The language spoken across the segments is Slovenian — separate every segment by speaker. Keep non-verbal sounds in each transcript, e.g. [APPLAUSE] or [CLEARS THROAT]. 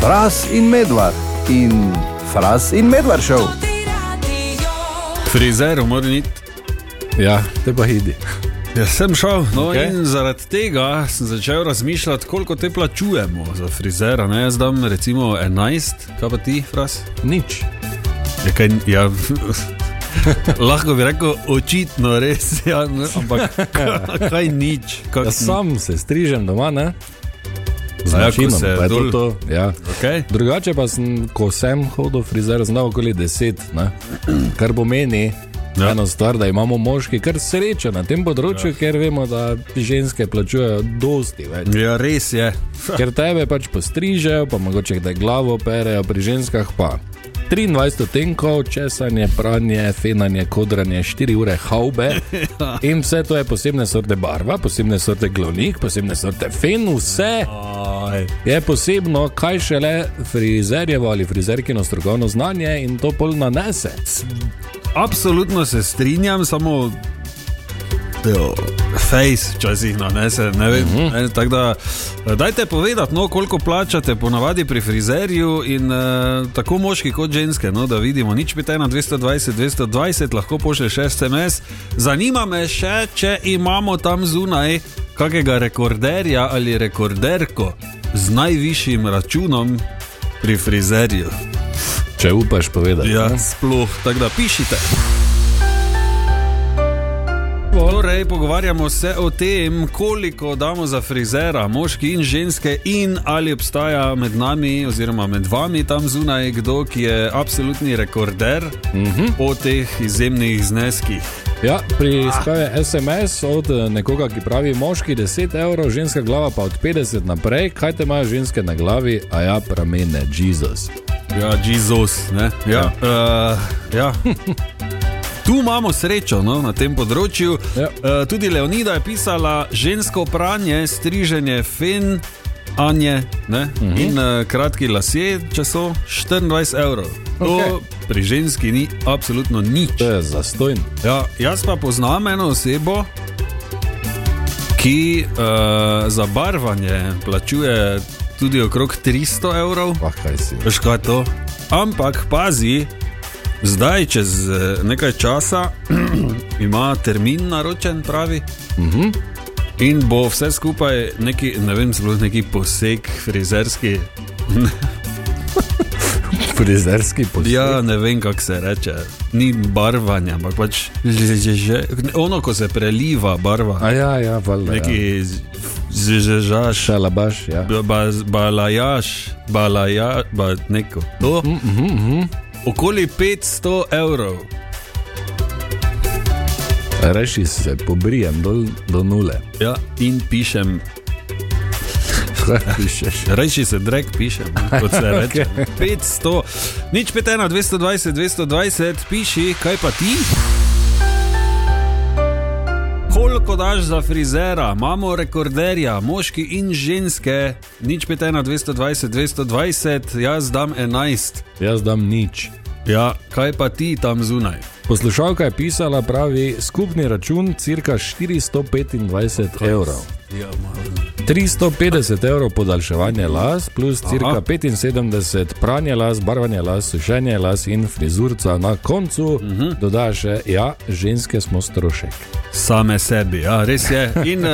Speaker 1: Fras in medvard in fras in medvard šel.
Speaker 2: Frizer, moram iti.
Speaker 1: Ja, te pa hidi.
Speaker 2: Jaz sem šel, no
Speaker 1: Okej.
Speaker 2: okay. in zaradi tega sem začel razmišljati, koliko te plačujemo za frizera. Ne? Jaz dam recimo 11, kaj pa ti, fras?
Speaker 1: Nič.
Speaker 2: Ja, kaj, [LAUGHS] ja, lahko bi rekel, očitno res, ja, ne, [LAUGHS] ampak kaj nič. Kak,
Speaker 3: Ja, sam se strižem doma, ne? Z
Speaker 2: A ja, ko
Speaker 3: mašinom,
Speaker 2: se
Speaker 3: pa je
Speaker 2: dol-
Speaker 3: to to. Ja.
Speaker 2: Okay.
Speaker 3: Drugače pa sem, ko sem hodil frizer, znal okoli 10, ne? kar pomeni. Ja.
Speaker 2: Ja.
Speaker 3: Eno stvar, da imamo moški kar srečo na tem področju, ja. ker vemo, da ženske plačujejo dosti več.
Speaker 2: Ja, res je.
Speaker 3: [LAUGHS] Ker tebe pač postrižejo, pa mogoče kdaj glavo perejo, pri ženskah pa. 23 tenkov, česanje, pranje, fenanje, kodranje, 4 ure haube in vse to je posebne sorte barva, posebne sorte glavnik, posebne sorte fen, vse
Speaker 2: Aj.
Speaker 3: je posebno, kaj šele frizerjevo ali frizerkino strokovno znanje in to pol nanese.
Speaker 2: Absolutno se strinjam, samo jo, face včasih nanese. Ne vem, mm -hmm. ne, tako da, eh, dajte povedati, no, koliko plačate ponavadi pri frizerju in eh, tako moški kot ženske, no, da vidimo. Nič pita na 220, 220, lahko pošlješ SMS. Zanima me še, če imamo tam zunaj kakega rekorderja ali rekorderko z najvišjim računom pri frizerju.
Speaker 3: Če upaš povedati.
Speaker 2: Ja, sploh, tako da pišite. Torej, pogovarjamo se o tem, koliko damo za frizera, moški in ženske, in ali obstaja med nami, oziroma med vami tam zunaj, kdo, ki je absolutni rekorder
Speaker 3: Mm -hmm.
Speaker 2: po teh izjemnih zneskih.
Speaker 3: Ja, preiskave SMS od eh, nekoga, ki pravi moški 10 evrov, ženska glava pa od 50 naprej. Kaj te imajo ženske na glavi, a ja, pramene, Jezus.
Speaker 2: Ja, Jezus. ne? Ja. Ja. Uh, ja. [LAUGHS] Tu imamo srečo no, na tem področju.
Speaker 3: Ja.
Speaker 2: Uh, tudi Leonida je pisala žensko pranje, striženje fen. Anje, uh
Speaker 3: Mhm.
Speaker 2: -huh. In uh, kratki lasje, če so 24 evrov. To okay.
Speaker 3: Okej.
Speaker 2: pri ženski ni absolutno nič.
Speaker 3: To je zastojn.
Speaker 2: Ja, jaz pa poznam eno osebo, ki uh, za barvanje plačuje tudi okrog 300 evrov.
Speaker 3: Pa kaj si.
Speaker 2: Veš kaj je to? Ampak pazi, zdaj, čez eh, nekaj časa, [CLEARS THROAT] ima termin naročen, pravi.
Speaker 3: Uh
Speaker 2: Mhm.
Speaker 3: -huh.
Speaker 2: In bo vse skupaj neki, ne vem, zelo neki poseg, frizerski.
Speaker 3: Frizerski posel.
Speaker 2: Ja, ne vem, kako se reče. Ni barvanja, ampak pač že, že, že. Ono, ko se preliva barva,
Speaker 3: A ja, ja, valjda. Ja.
Speaker 2: neki zžežaš.
Speaker 3: Šalabaš, ja.
Speaker 2: Ba, balajaš, balajaš, ba, neko. To,
Speaker 3: Mm -hmm, mm
Speaker 2: mhm.
Speaker 3: -hmm.
Speaker 2: okoli 500 evrov.
Speaker 3: Reši se, pobrijem dol do nule. [LAUGHS]
Speaker 2: Ja, in pišem
Speaker 3: Kaj pišeš?
Speaker 2: Reči se drek, pišem, ne, kot se reče. 500, nič 51, 220, 220, piši, kaj pa ti? Koliko daš za frizera, imamo rekorderja, moški in ženske, nič 51, 220, 220, jaz dam 11.
Speaker 3: Jaz dam nič.
Speaker 2: Ja, kaj pa ti tam zunaj?
Speaker 3: Poslušalka je pisala, pravi skupni račun cirka 425 evrov.
Speaker 2: Ja,
Speaker 3: 350 evrov podaljševanje las, plus
Speaker 2: Aha.
Speaker 3: cirka 75 pranje las, barvanje las, sušenje las in frizurca. Na koncu uh -huh. dodaš še, ja, ženske smo strošek.
Speaker 2: Same sebi, ja, res je. In uh,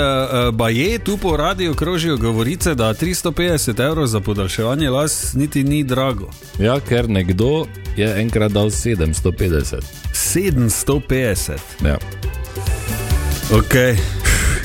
Speaker 2: baje tu po radiju krožijo govorice, da 350 evrov za podaljševanje las niti ni drago.
Speaker 3: Ja, ker nekdo je enkrat dal 750.
Speaker 2: 750.
Speaker 3: Ja.
Speaker 2: Okay.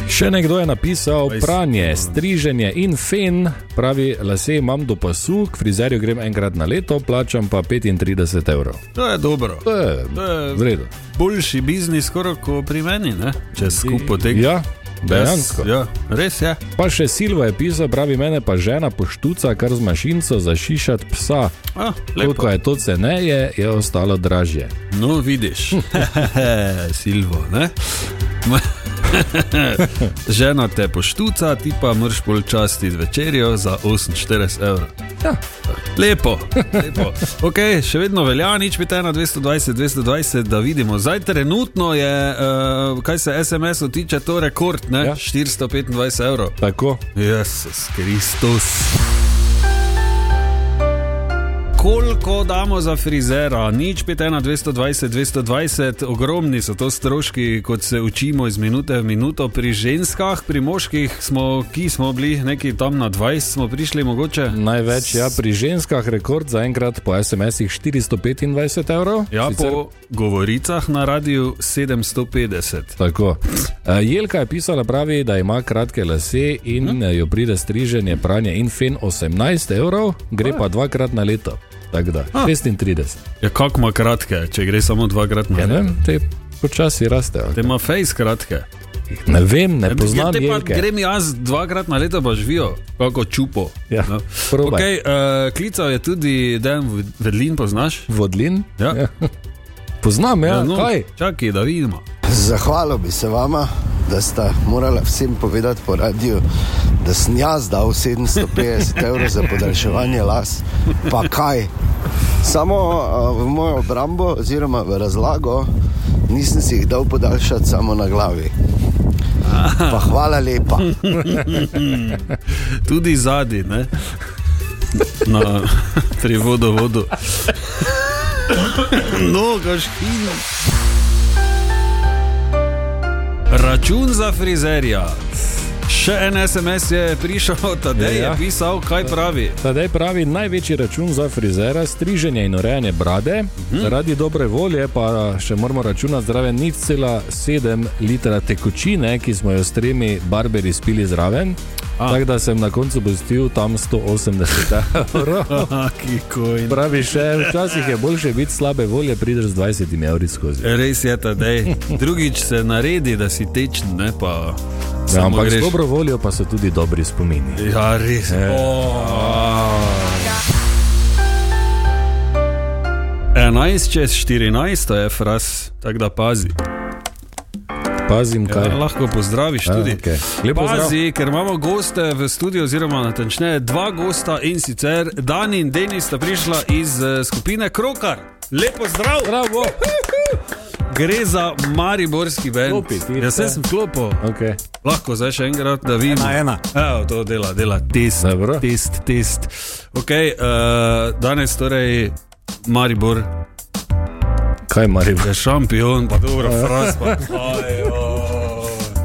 Speaker 3: Še nekdo je napisal:
Speaker 2: Dvajset,
Speaker 3: pranje, striženje in fen, pravi, lase imam do pasu, k frizerju grem enkrat na leto, plačam pa 35 evrov.
Speaker 2: To je dobro.
Speaker 3: To je
Speaker 2: To je
Speaker 3: v redu.
Speaker 2: boljši biznis, skoraj kot pri meni, ne? če skupaj poteka.
Speaker 3: Ja, dejansko.
Speaker 2: Ja, res je.
Speaker 3: Pa še Silva je pisal, pravi, mene pa žena poštuca, kar z mašinco zašišati psa.
Speaker 2: A,
Speaker 3: Koliko
Speaker 2: lepo.
Speaker 3: je to ceneje, je ostalo dražje.
Speaker 2: No, vidiš, Silvo. ne? [LAUGHS] Žena te poštuca, ti pa moraš polčasti večerjo za 48 evrov.
Speaker 3: Ja.
Speaker 2: Lepo, lepo. Okay, še vedno velja, nič pita na 220, 220, da vidimo. Zdaj trenutno je, uh, kaj se SMS-u tiče, to rekord, ne?
Speaker 3: Ja.
Speaker 2: Ja. 425 evrov.
Speaker 3: Tako.
Speaker 2: Jezus Kristus. koliko damo za frizera, nič 5, 220, 220, ogromni so to stroški, kot se učimo iz minute v minuto. Pri ženskah, pri moških, smo, ki smo bili neki tam na 20, smo prišli mogoče.
Speaker 3: Največ, ja, pri ženskah rekord zaenkrat po SMS-ih 425 evrov.
Speaker 2: Ja,
Speaker 3: Sicer-
Speaker 2: po govoricah na radiju 750.
Speaker 3: Tako. Eh, Jelka je pisala, pravi, da ima kratke lase in
Speaker 2: Mhm.
Speaker 3: hm? jo pride striženje, pranje in fen 18 evrov, gre pa dvakrat na leto. Tako da, 36.
Speaker 2: Ja, kako ima kratke, če gre samo dvakrat na
Speaker 3: Ja, ne
Speaker 2: leto?
Speaker 3: vem, te počasi rastejo.
Speaker 2: Te ima fejs kratke.
Speaker 3: Ne vem, ne
Speaker 2: ja,
Speaker 3: poznam
Speaker 2: te pa
Speaker 3: jelke.
Speaker 2: grem jaz dvakrat na leto, pa živijo, kako čupo.
Speaker 3: Ja,
Speaker 2: No.
Speaker 3: probaj.
Speaker 2: Okay, uh, klical je tudi Dan Vedlin, poznaš?
Speaker 3: Vodlin?
Speaker 2: Ja.
Speaker 3: [LAUGHS] Poznam, ja,
Speaker 2: no,
Speaker 3: kaj?
Speaker 2: Čakaj, da vidimo.
Speaker 4: Zahvalil bi se vama, da sta morala vsem povedati po radiju, da sem jaz dal 750 evrov za podaljševanje las. Pa kaj? Samo a, v mojo obrambo, oziroma v razlago, nisem si jih dal podaljšati samo na glavi. Pa hvala lepa.
Speaker 2: Tudi zadnji, ne? Na, [LAUGHS] pri vodovodu. [LAUGHS] No, gaškin. Račun za frizerja. Še en SMS je prišel, [LAUGHS] da
Speaker 3: Ja,
Speaker 2: je
Speaker 3: ja.
Speaker 2: pisal, kaj pravi.
Speaker 3: Tadej pravi, največji račun za frizera, striženje in urejanje brade, mhm. zaradi dobre volje pa še moramo računati zraven 0,7 litra tekočine, ki smo jo s tremi barberi spili zraven.
Speaker 2: A.
Speaker 3: Tako da sem na koncu pustil tam 180 [LAUGHS] evrov.
Speaker 2: Aki kojn.
Speaker 3: Pravi še, včasih je boljše biti slabe volje, prideš z 20 evri skozi.
Speaker 2: Res je, da je. Drugič se naredi, da si tečen, ne pa.
Speaker 3: Ja,
Speaker 2: samo
Speaker 3: ampak
Speaker 2: greš.
Speaker 3: z dobro voljo pa so tudi dobri spomini.
Speaker 2: Ja, res. Oh. 11 čez 14 to je fras, tako da pazi.
Speaker 3: Pazim, kaj.
Speaker 2: Ja, lahko pozdraviš
Speaker 3: Ja,
Speaker 2: tudi.
Speaker 3: okej. Lep pozdrav.
Speaker 2: Pazi, ker imamo goste v studiu, oziroma natančneje dva gosta in sicer Dan in Denis sta prišla iz eh, skupine Krokar. Lepo zdrav!
Speaker 3: Bravo!
Speaker 2: Gre za mariborski bend.
Speaker 3: Klopi, ti,
Speaker 2: Jaz
Speaker 3: vse.
Speaker 2: sem klopil.
Speaker 3: Okay.
Speaker 2: Lahko zdaj še enkrat, da vidim.
Speaker 5: Ena, ena.
Speaker 2: Evo, to dela, dela test,
Speaker 3: Dobro.
Speaker 2: test, test. Okay, uh, danes torej Maribor
Speaker 3: Kaj, Marijo?
Speaker 2: je šampion, pa dobro, fras pa. Ajo.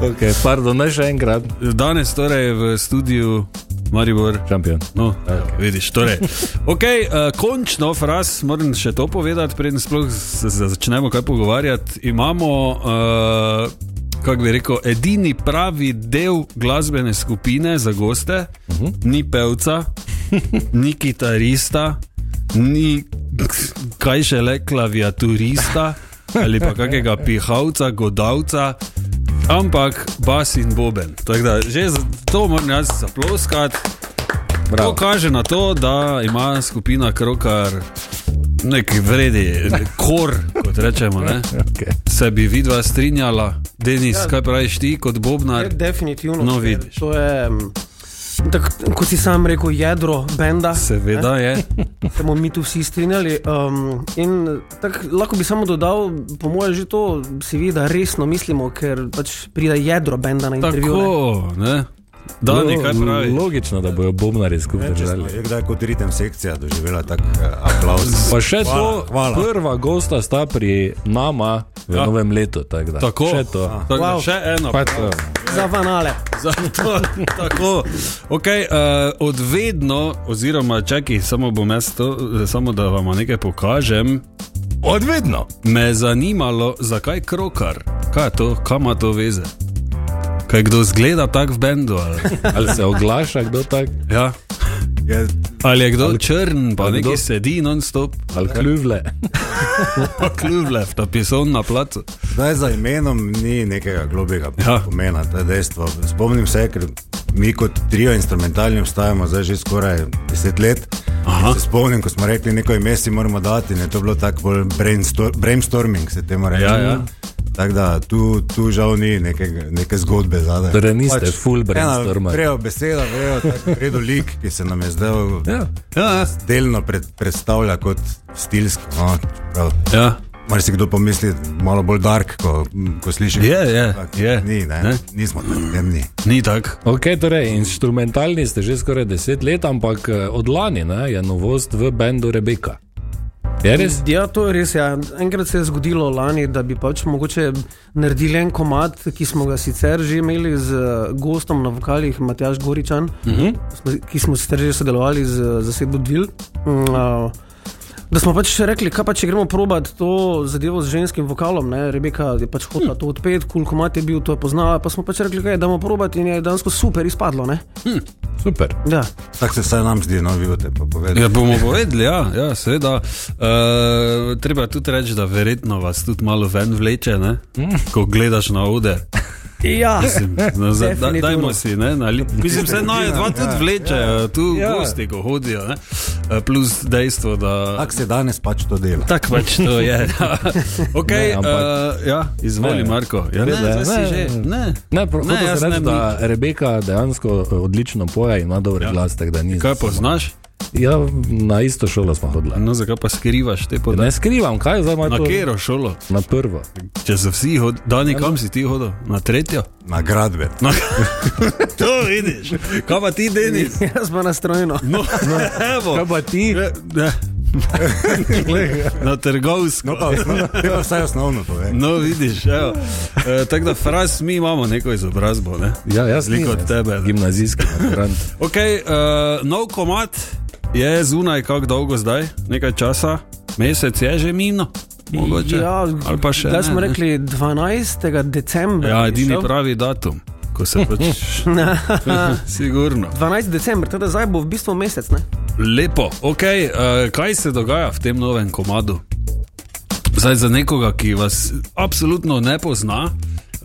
Speaker 3: Okay, pardon, ne še enkrat.
Speaker 2: Danes torej v studiu Maribor.
Speaker 3: Šampion.
Speaker 2: No, evo, vidiš, [LAUGHS] torej. okay, uh, končno, fras, moram še to povedati, preden sploh se se začnemo kaj pogovarjati. Imamo, uh, kako bi rekel, edini pravi del glasbene skupine za goste, uh -huh. ni pevca, ni kitarista, ni kaj še le klaviaturista ali pa kakega pihalca, godavca. Ampak bas in boben. Tako da že za to moram jaz zaploskati. To
Speaker 3: Bravo.
Speaker 2: kaže na to, da ima skupina Krokar nek vredi, kor, kot rečemo. Ne?
Speaker 3: Okay.
Speaker 2: Se bi vidva strinjala, Denis, kaj praviš ti kot Bobnar?
Speaker 5: Je Ja, definitivno.
Speaker 2: No,
Speaker 5: ker
Speaker 2: vidiš.
Speaker 5: To je, mm, tak, kot si sam rekel, jedro
Speaker 2: [LAUGHS]
Speaker 5: benda.
Speaker 2: Seveda je.
Speaker 5: Se bomo mi tu vsi strinjali. Um, in tak, lahko bi samo dodal, po mojem, že to si vidi, da resno mislimo, ker pač pride jedro benda na intervju. ne.
Speaker 2: Tako, ne? Dani, kaj pravi?
Speaker 3: Logično, da bojo bombnari skupaj
Speaker 6: Če
Speaker 3: držali.
Speaker 6: smo je kdaj kot ritem sekcija doživela tak eh, aplavz.
Speaker 3: Pa še
Speaker 6: Hvala,
Speaker 3: to,
Speaker 6: hvala.
Speaker 3: prva gosta sta pri nama v
Speaker 2: Ja.
Speaker 3: ja. novem letu. Tak da.
Speaker 2: Tako,
Speaker 3: Še to.
Speaker 2: tako da
Speaker 5: Wow.
Speaker 2: še eno.
Speaker 3: Ah.
Speaker 2: [LAUGHS]
Speaker 3: Pa to.
Speaker 5: Za vanale.
Speaker 2: Zato, tako. Okay, uh, odvedno, oziroma čakaj, samo bom jaz to, eh, samo da vam nekaj pokažem.
Speaker 3: Odvedno.
Speaker 2: Me je zanimalo, zakaj krokar, kaj je to, kam ima to veze. Kaj kdo zgleda tak v bendu? Ali,
Speaker 3: Ali se oglaša kdo tak,
Speaker 2: ja.
Speaker 6: Je
Speaker 2: ali je kdo ali, črn, pa
Speaker 3: ali
Speaker 2: nekdo
Speaker 3: kdo-
Speaker 2: sedi [LAUGHS] non-stop,
Speaker 3: ali kljuvle.
Speaker 2: pa kljuvle, ta pison na placu.
Speaker 6: Zdaj za imenom ni nekega globega
Speaker 2: Ja.
Speaker 6: ja. pomena, to je dejstvo. Spomnim se, ker mi kot trio instrumentalni obstajamo zdaj že skoraj deset let.
Speaker 2: Aha.
Speaker 6: In Se spomnim, ko smo rekli, neko ime si moramo dati, ne to je bilo tako bolj brainstor brainstorming, se temu reče.
Speaker 2: Ja, ja.
Speaker 6: Tako da tu, tu žal ni neke, neke zgodbe zadaj.
Speaker 3: Torej niste full brainstormer.
Speaker 6: Prejo beseda, prejo tak redo lik, ki se nam je zdaj
Speaker 3: Ja.
Speaker 2: Ja, ja.
Speaker 6: delno pred, predstavlja kot stilski. No, čeprav
Speaker 2: ja.
Speaker 6: Marsikdo pomisli malo bolj dark, ko, ko sliši.
Speaker 2: Je, je,
Speaker 6: Tak,
Speaker 2: je.
Speaker 6: Ni, ne,
Speaker 2: Ne?
Speaker 6: ne? Nismo tam, tem ni.
Speaker 2: Ni tako.
Speaker 3: Ok, torej instrumentalni ste že skoraj deset let, ampak eh, od lani ne, je novost v bendu Rebeka. Je res?
Speaker 5: Ja, to je res. Ja. Enkrat se je zgodilo lani, da bi pač mogoče naredili en komat, ki smo ga sicer že imeli z eh, gostom na vokalih, Matjaš Goričan, uh -huh. ki smo sicer že sodelovali z eh, zasedbo Dvil. Uh, Da smo pač rekli, kaj pa če gremo probat to zadevo z ženskim vokalom, ne? Rebeka je pač hotela to odpeti, koliko mat je bil, to je poznala, pa smo pač rekli, kaj, da bomo probat in je dansko super izpadlo, ne?
Speaker 3: Super.
Speaker 5: Ja.
Speaker 6: Tako se vsaj nam zdi, no, vi boste pa povedali.
Speaker 2: Ja, bomo [LAUGHS] povedali, ja, ja seveda. E, treba je tudi reči, da verjetno vas tudi malo ven vleče, ne? ko gledaš na oder.
Speaker 5: Ja,
Speaker 2: Mislim, no, za, da,
Speaker 5: Definitivno.
Speaker 2: dajmo si, ne, na, lip- mislim, se naj dva tudi vlečejo, tu ja. gosti, ko hodijo. Ne? E, Plus dejstvo, da.
Speaker 6: Tako se danes pač to dela.
Speaker 2: Tako pač to je. [LAUGHS] ja. okay,
Speaker 3: Ne,
Speaker 2: ne,
Speaker 3: ampak-
Speaker 2: uh, ja, izvoli,
Speaker 3: Ne.
Speaker 2: Marko. Ja, ne,
Speaker 3: Res, da-
Speaker 2: zdaj si
Speaker 3: ne,
Speaker 2: že. Ne,
Speaker 3: Ne, pro,
Speaker 2: Ne,
Speaker 3: ne,
Speaker 2: jaz
Speaker 3: jaz
Speaker 2: ne
Speaker 3: rečem,
Speaker 2: bi-
Speaker 3: da Rebeka dejansko eh, odlično poje in ima dober ja. glas, tako da ni.
Speaker 2: Kaj poznaš?
Speaker 3: Ja, na isto šolo smo hodili.
Speaker 2: No, zakaj pa skrivaš te
Speaker 3: Ja, Ne
Speaker 2: podatke?
Speaker 3: skrivam, kaj zdaj imaš
Speaker 2: Na katero šolo?
Speaker 3: Na prvo.
Speaker 2: Če so vsi hodili, da nekam si ti hodil, na tretjo.
Speaker 6: Na gradbe.
Speaker 2: No, [LAUGHS] to vidiš. Kaj pa ti, Denis?
Speaker 5: [LAUGHS] jaz pa na strojno.
Speaker 2: No, no. Evo,
Speaker 3: Kaj pa ti?
Speaker 2: Ne, ne. Na trgovsko.
Speaker 6: No, pa osnovno, pa vsaj osnovno pove.
Speaker 2: No, vidiš, evo. E, tako da, fraz, mi imamo neko izobrazbo, ne?
Speaker 3: Ja, jaz
Speaker 2: Razliko od tebe. ne.
Speaker 3: Gimnazijski maturant.
Speaker 2: Ok, e, nov komat je zunaj, kako dolgo zdaj, nekaj časa, mesec je že mino. Mogoče.
Speaker 5: Ja,
Speaker 2: ali pa še.
Speaker 5: Zdaj
Speaker 2: ne,
Speaker 5: smo
Speaker 2: ne.
Speaker 5: rekli 12. decembra.
Speaker 2: Ja,
Speaker 5: je
Speaker 2: edini
Speaker 5: šel.
Speaker 2: pravi datum, ko se
Speaker 6: [LAUGHS]
Speaker 2: pač. Sigurno.
Speaker 5: 12. december, teda zdaj bo v bistvu mesec. Ne?
Speaker 2: Lepo, ok. Uh, kaj se dogaja v tem novem komadu? Zdaj, za nekoga, ki vas absolutno ne pozna,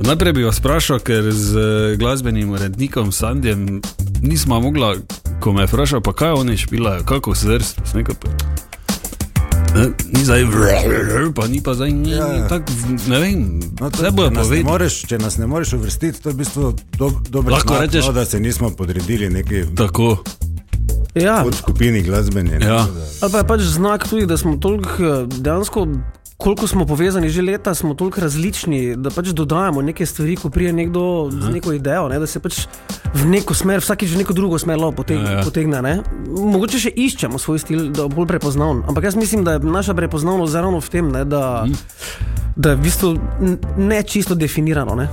Speaker 2: najprej bi vas vprašal, ker z eh, glasbenim urednikom Sandjem nismo mogla, ko me je vprašal, pa kaj oni špilajo, kako se zdrs, ni zdaj, vrrrr, pa ni pa zdaj, ni,
Speaker 6: Ja,
Speaker 2: ni,
Speaker 6: ja.
Speaker 2: tak, ne vem,
Speaker 6: No, to,
Speaker 2: ne bojo
Speaker 6: če, nas ne
Speaker 2: povedali.
Speaker 6: moreš, če nas ne moreš uvrstiti, to je v bistvu do, dobro.
Speaker 2: Lahko
Speaker 6: znak,
Speaker 2: rečeš-
Speaker 6: no, da se nismo podredili neki
Speaker 2: Tako,
Speaker 5: Ja,
Speaker 6: podskupini glasbeni. ne,
Speaker 2: ja.
Speaker 6: da-
Speaker 5: ali pa je pač znak tudi, da smo toliko eh, dejansko. Koliko smo povezani že leta, smo toliko različni, da pač dodajamo neke stvari, ko prije nekdo z neko idejo, ne, da se pač v neko smer, vsakič v neko drugo smer lo potegne.
Speaker 2: Ja,
Speaker 5: Ja,
Speaker 2: ja.
Speaker 5: ja. potegne ne. Mogoče še iščemo svoj stil, da bo bolj prepoznaven. Ampak jaz mislim, da je naša prepoznavnost ravno v tem, ne, da, da je v bistvu n- ne čisto definirano. Ne.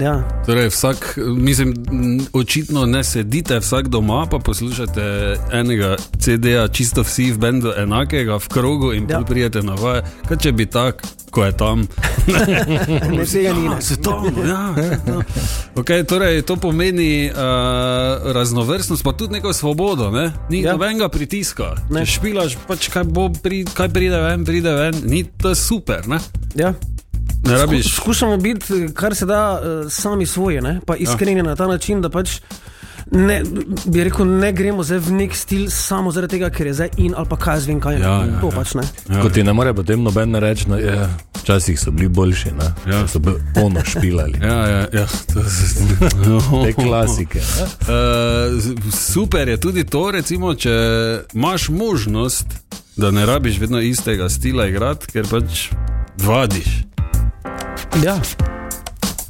Speaker 5: Ja.
Speaker 2: Torej, vsak, mislim, m, očitno ne sedite vsak doma, pa poslušate enega CD-ja, čisto vsi v bendu enakega, v krogu in ja.
Speaker 5: Ja.
Speaker 2: prijete na vaje. Kaj če bi tak, ko je tam?
Speaker 5: [LAUGHS] Ne, tega ni. ne.
Speaker 2: Svetovno, ja. svetovno. Okay, torej, to pomeni uh, raznovrstnost, pa tudi neko svobodo. Ne? Ni ja.
Speaker 5: Ja.
Speaker 2: nobenega pritiska. Ne.
Speaker 5: Ne.
Speaker 2: Če špilaš, pač kaj, bo, pri, kaj pride ven, pride ven, ni to je super. Ne,
Speaker 5: Ja.
Speaker 2: ne
Speaker 5: Sku-
Speaker 2: rabiš.
Speaker 5: Skušamo biti, kar se da, eh, sami svoje, ne? pa iskreni ja. na ta način, da pač ne, bi rekel, ne gremo zdaj v nek stil samo zaradi tega, ker je zdaj in ali pa kaj jaz vem
Speaker 2: Ja,
Speaker 5: kaj.
Speaker 2: ja,
Speaker 5: to
Speaker 2: ja.
Speaker 5: pač ne.
Speaker 2: Ja.
Speaker 3: Kot ti ne more potem noben reči, no, je, včasih so bili boljši, ne?
Speaker 2: Ja.
Speaker 3: so bili ono špilali.
Speaker 2: Ja, ja, ja. To, je- [LAUGHS]
Speaker 3: Te klasike. ne.
Speaker 2: Eh, z- super je tudi to, recimo, če imaš možnost, da ne rabiš vedno istega stila igrati, ker pač vadiš.
Speaker 5: Ja.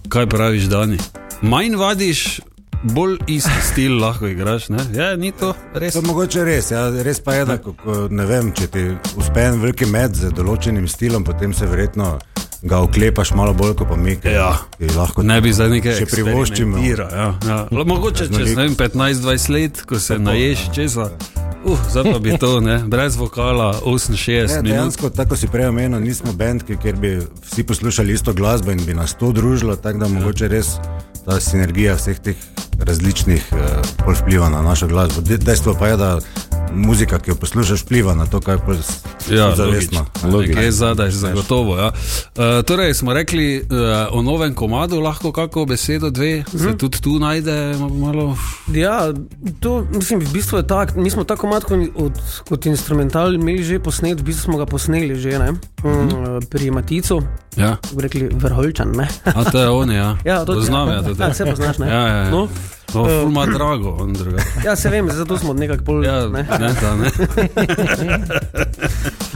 Speaker 2: Kaj praviš, Dani? Manj vadiš, bolj isti stil lahko igraš. Ne? Ja, ni to res.
Speaker 6: To je mogoče res, ja, res pa je, da ko, ko, ne vem, če ti uspe en veliki med z določenim stilom, potem se verjetno ga oklepaš malo bolj kot pa mi. ki-
Speaker 2: Ja.
Speaker 6: ki Lahko
Speaker 2: Ne bi zdaj nekaj
Speaker 6: Še privoščimo.
Speaker 2: eksperimentira, Ja, ja. Le Mogoče čez ne vem, 15-20 let, ko se naješ
Speaker 6: ja.
Speaker 2: česa. Uh, zdaj pa bi to, ne? brez vokala, 68
Speaker 6: Ne,
Speaker 2: minut.
Speaker 6: dejansko, tako si prej omenil, nismo bend, ki- kjer bi vsi poslušali isto glasbo in bi nas to družilo, tako da ja. mogoče res ta sinergija vseh teh različnih eh, pol vpliva na našo glasbo. De- Dejstvo pa je, da muzika, ki jo poslušaš, vpliva na to, kaj pol s-
Speaker 2: Ja,
Speaker 6: zavestno.
Speaker 2: Logično. Je zadaj, zagotovo. Ja. Uh, torej, smo rekli uh, o novem komadu, lahko kako besedo, dve, mm -hmm.
Speaker 5: Mhm.
Speaker 2: se tudi tu najde malo.
Speaker 5: ja, to mislim, v bistvu je tako. Mi smo tako matko od, kot instrumental imeli že posnet, v bistvu smo ga posneli že ne? Mm, pri Maticu,
Speaker 2: Ja,
Speaker 5: bi rekli vrholičan. Ne? [LAUGHS]
Speaker 2: a to je on, ja.
Speaker 5: Ja, to
Speaker 2: Poznam, ja,
Speaker 5: [LAUGHS] ja,
Speaker 2: tudi.
Speaker 5: ja, vse poznaš. Ne?
Speaker 2: Ja, ja, ja.
Speaker 5: No,
Speaker 2: To je fulma drago, on
Speaker 5: [LAUGHS]
Speaker 2: druga.
Speaker 5: Ja, se vem, zato smo nekako bolj.
Speaker 2: Ja,
Speaker 5: ne.
Speaker 2: ne, da, ne.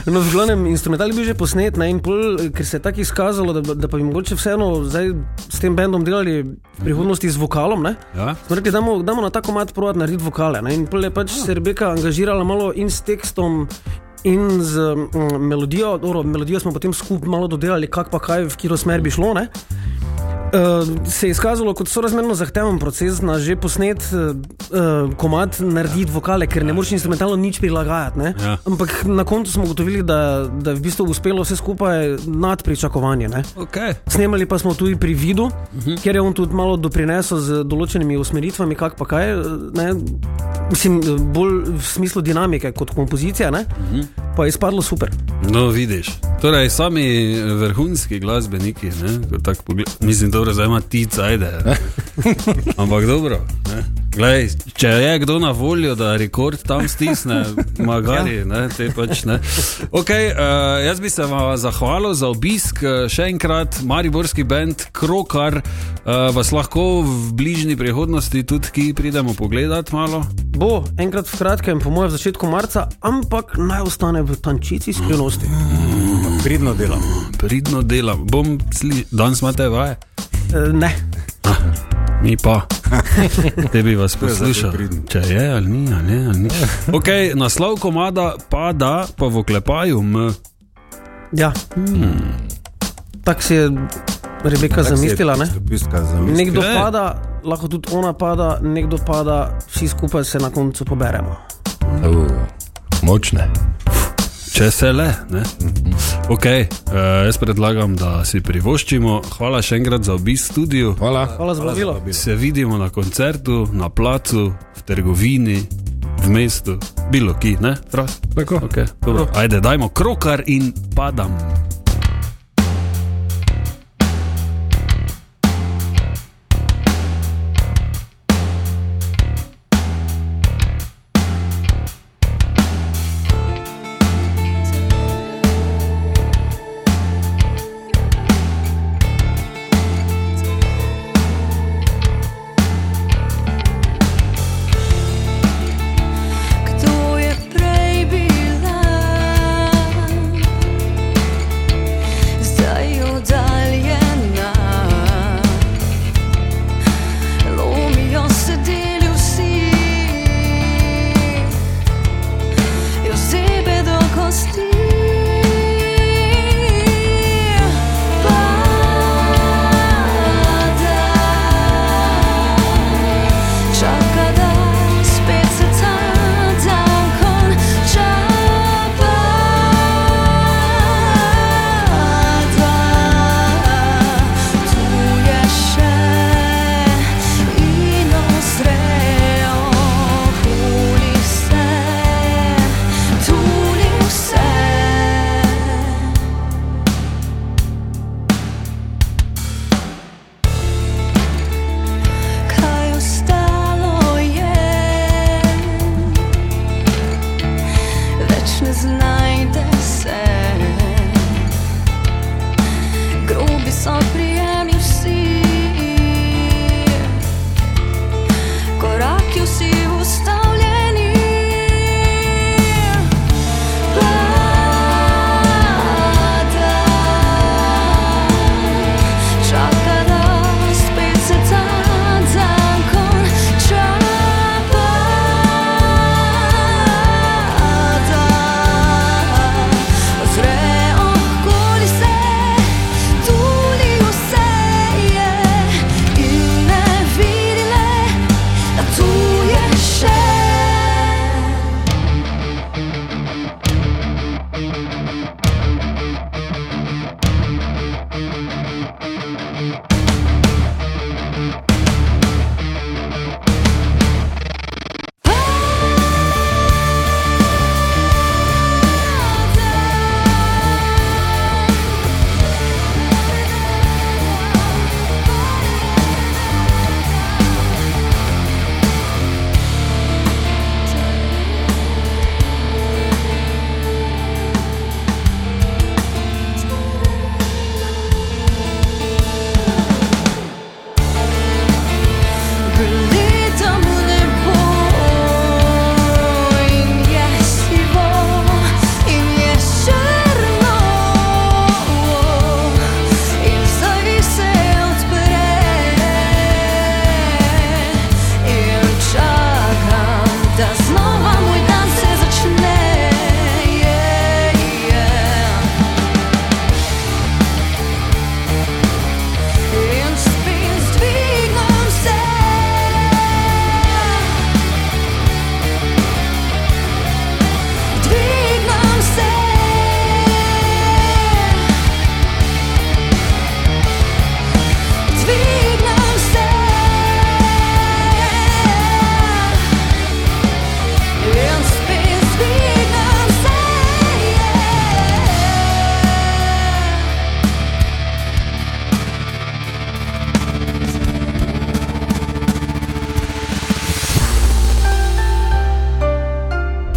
Speaker 5: No, v glavnem, instrumental je bil že posnet, ne, in pol, ker se je tako izkazalo, da, da pa bi mogoče vseeno zdaj s tem bendom delali v prihodnosti z vokalom. Ne,
Speaker 2: Ja.
Speaker 5: Smo rekli, damo, damo na tako mat provat narediti vokale. Ne, in pol je pač se Rebeka angažirala malo in s tekstom. In z mm, melodijo, dobro, melodijo smo potem skupaj malo dodelali, kak pa kaj, v katero smer bi šlo. Ne? Uh, se je izkazalo kot sorazmerno zahteven proces na že posnet uh, uh, komat, narediti vokale, ker ne moreš instrumentalno nič prilagajati. Ne?
Speaker 2: Ja.
Speaker 5: Ampak na koncu smo ugotovili, da, da je v bistvu uspelo vse skupaj nad pričakovanje. Ne?
Speaker 2: Okay.
Speaker 5: Snemali pa smo tudi pri Vidu, uh -huh. kjer je on tudi malo doprinesel z določenimi usmeritvami, kak pa kaj, ne? mislim, bolj v smislu dinamike kot kompozicije, uh -huh. pa je izpadlo super.
Speaker 2: No, vidiš. Torej, sami vrhunski glasbeniki, ne, ko tako pogled- mislim, dobro, zdaj ima ti cajde. ne. Ampak dobro. ne. Glej, če je kdo na voljo, da rekord tam stisne, magari, ne, te pač ne. Okay, uh, jaz bi se vam zahvalil za obisk, eh, še enkrat, mariborski bend Krokar, uh, vas lahko v bližnji prihodnosti tudi ki pridemo pogledat malo.
Speaker 5: Bo enkrat v kratkem, po mojem, v začetku marca, ampak naj ostane v tančici skrivnosti.
Speaker 6: Pridno delam.
Speaker 2: Pridno delam, bom, sli- danes imate vaje.
Speaker 5: E, ne,
Speaker 2: Mi pa, [LAUGHS] te bi vas
Speaker 6: je zdaj
Speaker 2: poslušal.
Speaker 6: pridno.
Speaker 2: Če je ali ni, ali, je, ali ni. Okay, naslov komada pa da, pa v oklepaju. M.
Speaker 5: ja. Hmm. Tako si je Rebeka zamislila, ne?
Speaker 6: Pistka za misli.
Speaker 5: Nekdo
Speaker 2: Ne.
Speaker 5: pada, lahko tudi ona pada, nekdo pada, vsi skupaj se na koncu poberemo.
Speaker 3: Uh, močne.
Speaker 2: Če se le. Ne? Okay, uh, jaz predlagam, da si privoščimo. Hvala še enkrat za obisk studiu.
Speaker 3: Hvala.
Speaker 5: Hvala za vabilo.
Speaker 2: Se vidimo na koncertu, na placu, v trgovini, v mestu, bilo ki, ne? Fras?
Speaker 3: Tako.
Speaker 2: Okay, dobro. Ajde, dajmo krokar in padam.
Speaker 7: Kdo je prej bila?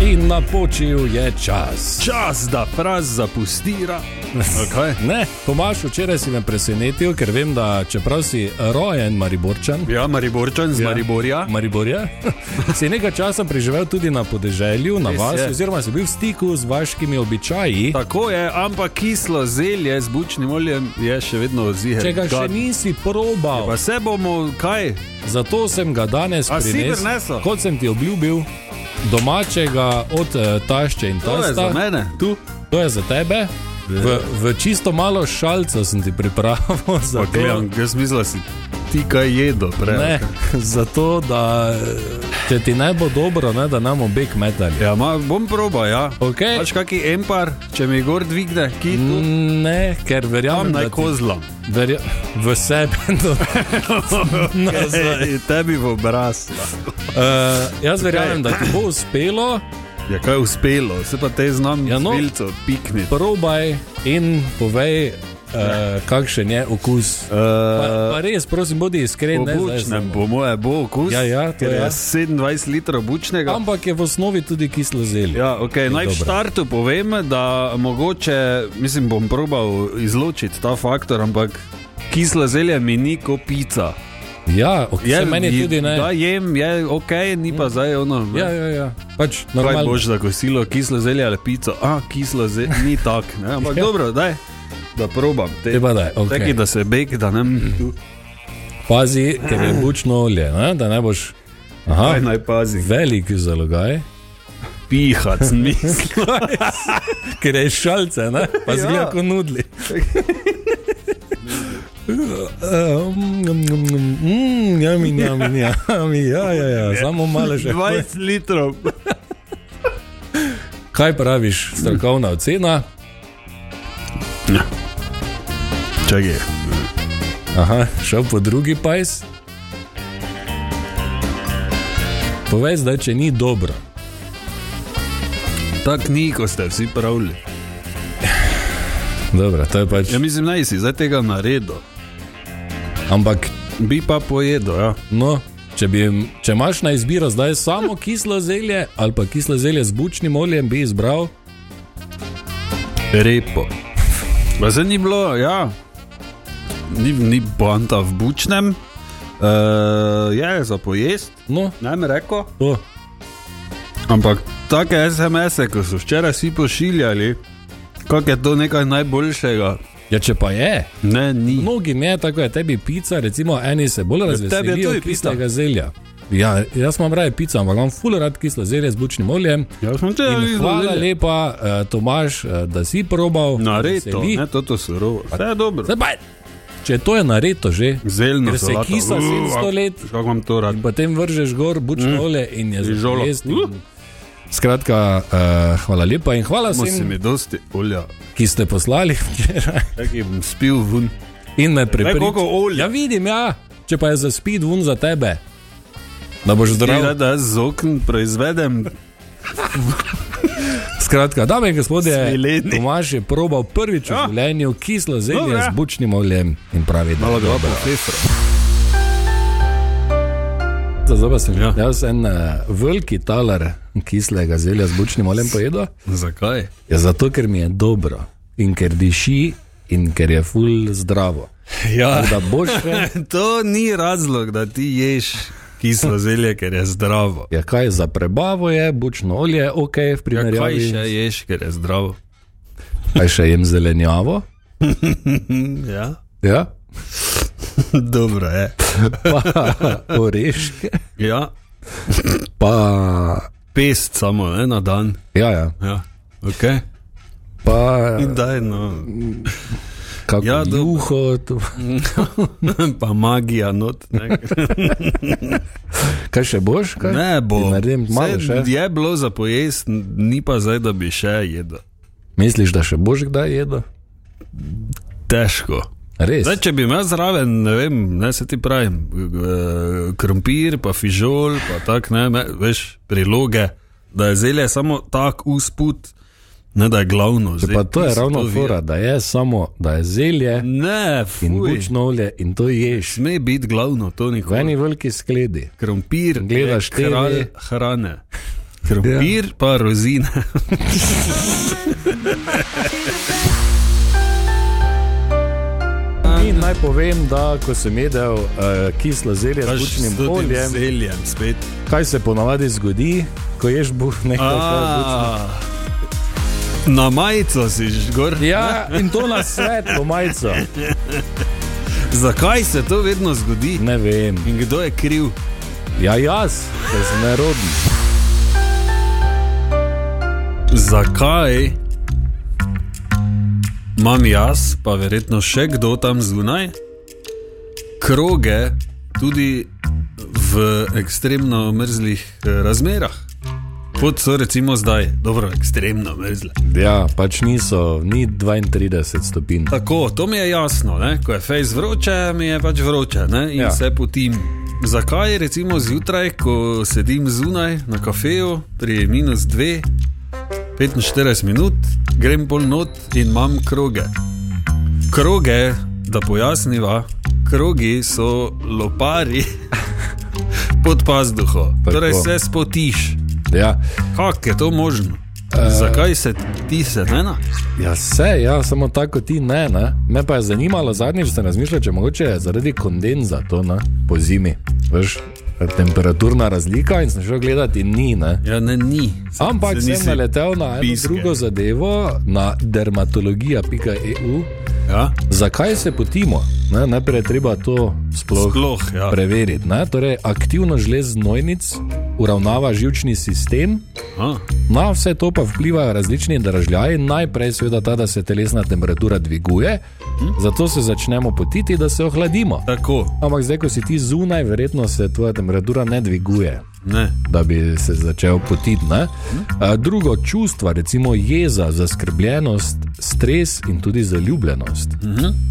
Speaker 3: in napočil je čas.
Speaker 2: Čas, da fraz zapustira. Okay.
Speaker 3: Ne, Tomaš, včeraj si me presenetil, ker vem, da čeprav si rojen Mariborčan,
Speaker 2: Ja, Mariborčan z ja. Mariborja.
Speaker 3: [LAUGHS] Mariborja, si nekaj časa preživel tudi na podeželju, na
Speaker 2: Res
Speaker 3: vas,
Speaker 2: je.
Speaker 3: oziroma si bil v stiku z vaškimi običaji.
Speaker 2: Tako je, ampak kislo zelje z bučnim oljem je še vedno ziger.
Speaker 3: Če ga še nisi probal,
Speaker 2: Pa se bomo, kaj?
Speaker 3: zato sem ga danes
Speaker 2: A si
Speaker 3: prinesel,
Speaker 2: prinesel?
Speaker 3: kot sem ti obljubil, domačega od eh, tašče in
Speaker 2: To je za
Speaker 3: tasta.
Speaker 2: mene. Tu.
Speaker 3: To je za tebe. V, v čisto malo šalca sem ti pripravil, [LAUGHS]
Speaker 2: Pa
Speaker 3: zato,
Speaker 2: gledam, jaz mislim, da si ti kaj jedo prej.
Speaker 3: ne, [LAUGHS] zato da eh, če ti ne bo dobro, ne, da nam obe kmetali.
Speaker 2: Ja, ma, bom proba, ja.
Speaker 3: Okay?
Speaker 2: Pač kaki empar, če mi gor dvigne, ki tu
Speaker 3: Mm, Ne, ker
Speaker 2: tam
Speaker 3: verjamem, da
Speaker 2: naj
Speaker 3: ti,
Speaker 2: kozlam.
Speaker 3: verja, v sebe. [LAUGHS] Do, nazaj.
Speaker 2: Ej, Tebi v obraz.
Speaker 3: Uh, jaz verjamem, da ti bo uspelo,
Speaker 2: Ja, kaj je uspelo, se pa te znam, ja,
Speaker 3: Ja,
Speaker 2: no.
Speaker 3: no.
Speaker 2: Vilco, pikni.
Speaker 3: probaj in povej, uh, kakšen je okus. Pa, pa res, prosim, bodi iskren. ne, zdaj
Speaker 2: Eh, Obučnem,
Speaker 3: samo.
Speaker 2: po moje, bo okus.
Speaker 3: Ja, ja, to
Speaker 2: ker
Speaker 3: ja.
Speaker 2: je 27 litrov bučnega.
Speaker 3: Ampak je v osnovi tudi kislo zelje.
Speaker 2: Ja, okay. Naj v
Speaker 3: dobro.
Speaker 2: startu povem, da mogoče, mislim, bom probal izločiti ta faktor, ampak kislo zelje mi ni kot pica.
Speaker 3: Ja, ok, je, meni je, tudi ne.
Speaker 2: Da jem, je ok, ni pa zdaj ono.
Speaker 3: Ja, ja, ja. Pač
Speaker 2: Kaj
Speaker 3: normalno.
Speaker 2: boš za kosilo, kislo zelje ali pico? A, kislo zelje, ni tak, ne? ampak
Speaker 3: [LAUGHS] Ja.
Speaker 2: dobro, daj, da probam. Te,
Speaker 3: Treba Mm. da je, okej.
Speaker 2: Taki, da se bek, da ne tu.
Speaker 3: Pazi, ker je bučno olje, ne? da ne boš. Aha,
Speaker 2: Kaj naj pazi?
Speaker 3: velik zalogaj.
Speaker 2: Pihac,
Speaker 3: [LAUGHS]
Speaker 2: mislim.
Speaker 3: Ker je iz šalce, ne?
Speaker 2: Ja.
Speaker 3: pa zgleda ja. kot nudli. Mm, jami, jami, jami, ja, ja, ja, samo malo še.
Speaker 2: 20 litrov.
Speaker 3: Kaj praviš, strokovna ocena?
Speaker 2: Čakaj.
Speaker 3: Aha, šel po drugi pajs. Povej zdaj, če ni dobro.
Speaker 2: Tak ni, ko ste vsi pravili.
Speaker 3: Dobro, to je pač.
Speaker 2: Ja, mislim, naj si zdaj tega naredil.
Speaker 3: Ampak
Speaker 2: Bi pa pojedel, ja.
Speaker 3: No, če, bi, če imaš na izbiro zdaj samo kislo zelje ali pa kislo zelje z bučnim oljem, bi izbral.
Speaker 2: Repo. Pa se ni bilo, ja. Ni, ni banta v bučnem. Uh, je za pojest,
Speaker 3: No,
Speaker 2: naj mi reko.
Speaker 3: to.
Speaker 2: Ampak take SMS-e, ko so včeraj vsi pošiljali, kako je to nekaj najboljšega.
Speaker 3: Ja, če pa je,
Speaker 2: Ne, ni.
Speaker 3: mnogim je tako, je tebi pica, recimo, eni se bolj
Speaker 2: tebi je
Speaker 3: razveselijo
Speaker 2: tudi
Speaker 3: kislega zelja. Ja, jaz imam raje pico, ampak imam full rad kislo zelje z bučnim oljem.
Speaker 2: Ja, sem če
Speaker 3: In hvala lepa, uh, Tomaš, uh, da si probal.
Speaker 2: Nareto,
Speaker 3: Veseli.
Speaker 2: ne, toto surovo. Vse je dobro.
Speaker 3: Zdaj pa je- Če to je nareto že,
Speaker 2: Zeljno
Speaker 3: Ker se
Speaker 2: solato.
Speaker 3: kisla
Speaker 2: Uh,
Speaker 3: 700 let.
Speaker 2: Kako vam to rad?
Speaker 3: In potem vržeš gor bučno mm. olje in je
Speaker 2: In žolo.
Speaker 3: zelo.
Speaker 2: Uh.
Speaker 3: Skratka, uh, hvala lepa in hvala
Speaker 2: Smo si
Speaker 3: vsem,
Speaker 2: mi dosti olja.
Speaker 3: ki ste poslali [LAUGHS] včeraj
Speaker 2: Čakaj, bom spil ven.
Speaker 3: in me
Speaker 2: Daj koliko
Speaker 3: prepričali.
Speaker 2: olja.
Speaker 3: Ja, vidim, ja, če pa je za spid vun za tebe, da boš
Speaker 2: Prav.
Speaker 3: zdrav.
Speaker 2: Da, da jaz z okn proizvedem
Speaker 3: Skratka, dame in gospodje,
Speaker 2: Svileni.
Speaker 3: Tomaž je probal prvič v
Speaker 2: Ja.
Speaker 3: življenju kislo zelje
Speaker 2: Dobro, ja.
Speaker 3: z bučnim oljem in pravi, da
Speaker 2: malo dobro. Profesor.
Speaker 3: Zdaj pa sem
Speaker 2: Ja.
Speaker 3: ja. jaz en uh, veliki talar kislega zelja z bučnim oljem pojedel.
Speaker 2: Zakaj?
Speaker 3: Ja, zato, ker mi je dobro in ker diši in ker je ful zdravo.
Speaker 2: Ja.
Speaker 3: Da boš
Speaker 2: [LAUGHS]
Speaker 3: še.
Speaker 2: To ni razlog, da ti ješ [LAUGHS] kislo zelje, ker je zdravo.
Speaker 3: Ja, kaj za prebavo je, bučno olje, ok, v
Speaker 2: Ja, kaj
Speaker 3: primerjavi.
Speaker 2: še ješ, ker je zdravo?
Speaker 3: Kaj še jem zelenjavo?
Speaker 2: Ja. [LAUGHS]
Speaker 3: Ja,
Speaker 2: Dobro je.
Speaker 3: pa [LAUGHS] oreške.
Speaker 2: Ja.
Speaker 3: Pa,
Speaker 2: Pest samo ne, na dan.
Speaker 3: ja, ja.
Speaker 2: Ja. Okay.
Speaker 3: pa
Speaker 2: Daj, no. [LAUGHS]
Speaker 3: kako
Speaker 2: Ja,
Speaker 3: ja,
Speaker 2: dobro.
Speaker 3: juho,
Speaker 2: [LAUGHS]
Speaker 3: to,
Speaker 2: Pa magija, not. Ne,
Speaker 3: kaj še boš? Kaj?
Speaker 2: [LAUGHS] ne bo.
Speaker 3: Ti naredim malo
Speaker 2: Saj
Speaker 3: še.
Speaker 2: Je bilo za pojest, ni pa zdaj, da bi še jedel.
Speaker 3: Misliš, da še boš kdaj jedel?
Speaker 2: Težko.
Speaker 3: Res.
Speaker 2: Zdaj, če bi imel zraven, ne vem, ne se ti pravim, eh, krompir, pa fižol, pa tak, ne, ne, veš, priloge, da je zelje samo tak usput, ne da je glavno. Zdaj,
Speaker 3: Pa to je
Speaker 2: tisto
Speaker 3: ravno
Speaker 2: vi-
Speaker 3: fora, da je samo, da je zelje
Speaker 2: Ne,
Speaker 3: in
Speaker 2: fuj,
Speaker 3: bučno olje in to ješ.
Speaker 2: sme biti glavno, to
Speaker 3: V
Speaker 2: nikoli.
Speaker 3: eni veliki skledi.
Speaker 2: Krompir,
Speaker 3: Gledaš Ja.
Speaker 2: je kralj
Speaker 3: TV.
Speaker 2: hrane. Krompir ja. pa
Speaker 3: [LAUGHS]
Speaker 2: rozina. Ja.
Speaker 3: In naj povem, da ko sem jedel uh, kislo zelje s bučnim oljem,
Speaker 2: zeljem spet.
Speaker 3: kaj se ponavadi zgodi, ko ješ buh [LAUGHS] nekaj bučnega.
Speaker 2: A, Na majico si že gor.
Speaker 3: Ja, in to na svet, po majico.
Speaker 2: Zakaj se to vedno zgodi?
Speaker 3: Ne vem.
Speaker 2: In kdo je kriv?
Speaker 3: Ja, jaz, ker sem neroden.
Speaker 2: Zakaj imam jaz, pa verjetno še kdo tam zunaj, kroge tudi v ekstremno mrzlih eh, razmerah? Kot so recimo zdaj, dobro, ekstremno mrzle.
Speaker 3: Ja, pač niso, ni 32 stopinj.
Speaker 2: Tako, to mi je jasno, ne? ko je fejs vroče, mi je pač vroče ne? in
Speaker 3: Ja.
Speaker 2: ja. se potim. Zakaj recimo zjutraj, ko sedim zunaj na kafeju pri minus 2, 45 minut, grem pol not in imam kroge? Kroge, da pojasniva, krogi so lopari [LAUGHS] pod pazduho,
Speaker 3: Tako.
Speaker 2: torej se spotiš.
Speaker 3: Ja,
Speaker 2: Kako je to možno?
Speaker 3: Eh.
Speaker 2: Zakaj se ti se ne na?
Speaker 3: ja se, ja, samo tako ti ne, ne. Me pa je zanimalo zadnjič, sem razmišljal, če mogoče je zaradi kondenza to ne, po zimi. Veš, temperaturna razlika in sem šel gledati, in ni, ne.
Speaker 2: Ja, ne, ni.
Speaker 3: Ampak
Speaker 2: Se
Speaker 3: sem
Speaker 2: nisi-
Speaker 3: naletel na eno
Speaker 2: piske.
Speaker 3: drugo zadevo, na dermatologija.eu,
Speaker 2: Ja?
Speaker 3: zakaj se potimo. Ne, najprej je treba to sploh,
Speaker 2: Sploh, ja.
Speaker 3: preveriti. Ne? Torej, aktivno žlez znojnic uravnava žilčni sistem,
Speaker 2: A,
Speaker 3: na vse to pa vplivajo različni dražljaji. Najprej, seveda, ta, da se telesna temperatura dviguje, zato se začnemo potiti, da se ohladimo.
Speaker 2: tako,
Speaker 3: Ampak zdaj, ko si ti zunaj, verjetno se tvoja temperatura ne dviguje
Speaker 2: ne.
Speaker 3: da bi se začel potiti. ne. A Drugo čustva, recimo jeza, zaskrbljenost, stres in tudi zaljubljenost,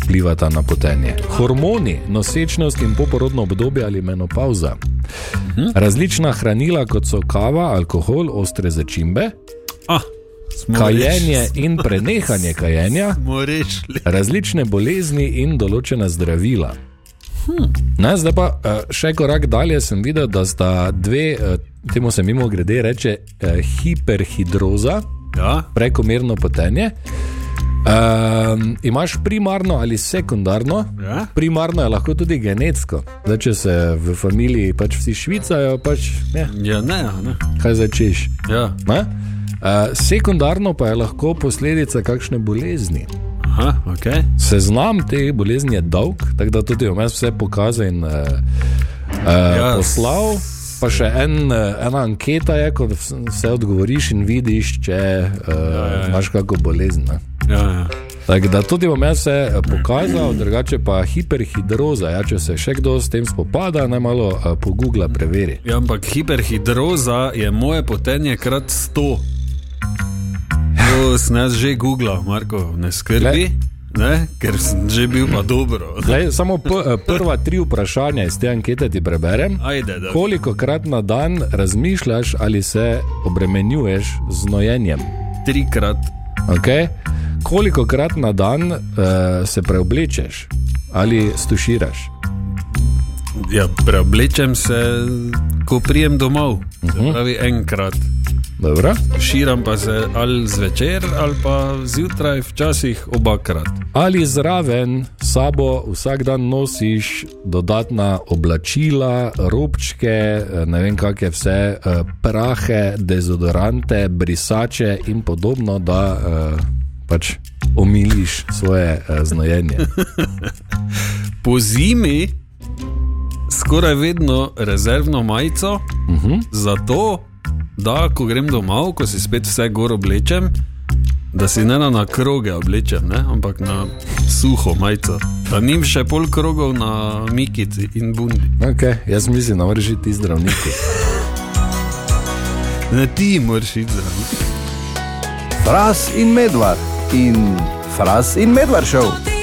Speaker 3: vplivata na potenje. Hormoni, nosečnost in poporodno obdobje ali menopauza. Različna hranila, kot so kava, alkohol, ostre začimbe,
Speaker 2: A, smo
Speaker 3: kajenje
Speaker 2: reč-
Speaker 3: in prenehanje kajenja,
Speaker 2: Smo rešili.
Speaker 3: različne bolezni in določena zdravila. Ne, zdaj pa eh, še korak dalje sem videl, da sta dve, eh, temu se mimo grede reče, eh, hiperhidroza,
Speaker 2: Ja,
Speaker 3: prekomerno potenje. Um, imaš primarno ali sekundarno,
Speaker 2: Ja.
Speaker 3: primarno je lahko tudi genetsko. Zdaj, če se v familiji pač vsi švicajo, pač ne,
Speaker 2: ja ne, ja, ne.
Speaker 3: kaj začeš.
Speaker 2: Ja.
Speaker 3: Uh, sekundarno pa je lahko posledica kakšne bolezni.
Speaker 2: Aha, okay.
Speaker 3: Seznam te bolezni je dolg, tako da tudi vmes vse pokazal in uh, uh,
Speaker 2: Ja.
Speaker 3: yes. poslal. Pa še en, eh, ena anketa je, ko vs- vse odgovoriš in vidiš, če uh, ja, ja, ja. imaš kakšno bolezen. ne.
Speaker 2: ja, ja.
Speaker 3: Tako da tudi bom jaz se eh, pokazal, drugače pa hiperhidroza. Ja, če se še kdo s tem spopada, naj malo uh, pogugla preveri.
Speaker 2: ja, ampak hiperhidroza je moje potenje krat 100. To sem jaz že googlal, Marko, ne skrbi, ne? ker sem že bil pa dobro.
Speaker 3: Zdaj, samo p, eh, prva tri vprašanja iz te ankete ti preberem.
Speaker 2: Ajde, da.
Speaker 3: Koliko krat na dan razmišljaš ali se obremenjuješ z nojenjem?
Speaker 2: Trikrat.
Speaker 3: Okay? Koliko krat na dan uh, se preoblečeš ali stuširaš?
Speaker 2: Ja, preoblečem se, ko prijem domov. Se pravi, enkrat.
Speaker 3: Dobro?
Speaker 2: Širam pa se ali zvečer, ali pa zjutraj, včasih obakrat.
Speaker 3: Ali zraven s sabo vsak dan nosiš dodatna oblačila, robčke, eh, ne vem kakšne vse, eh, prahe, dezodorante, brisače in podobno, da eh, pač omiliš svoje eh, znojenje.
Speaker 2: po zimi skoraj vedno rezervno majico, uh -huh. zato da, ko grem domov, ko si spet vse gor oblečem, da si ne na, na kroge oblečem, ne? ampak na suho majico. Da nim še pol krogov na mikici in bundi.
Speaker 3: Okay, jaz mislim, da moraš iti zdravniki.
Speaker 2: Ne ti moraš iti zraven.
Speaker 1: Fras in Medvard in Fras in Medvard šel.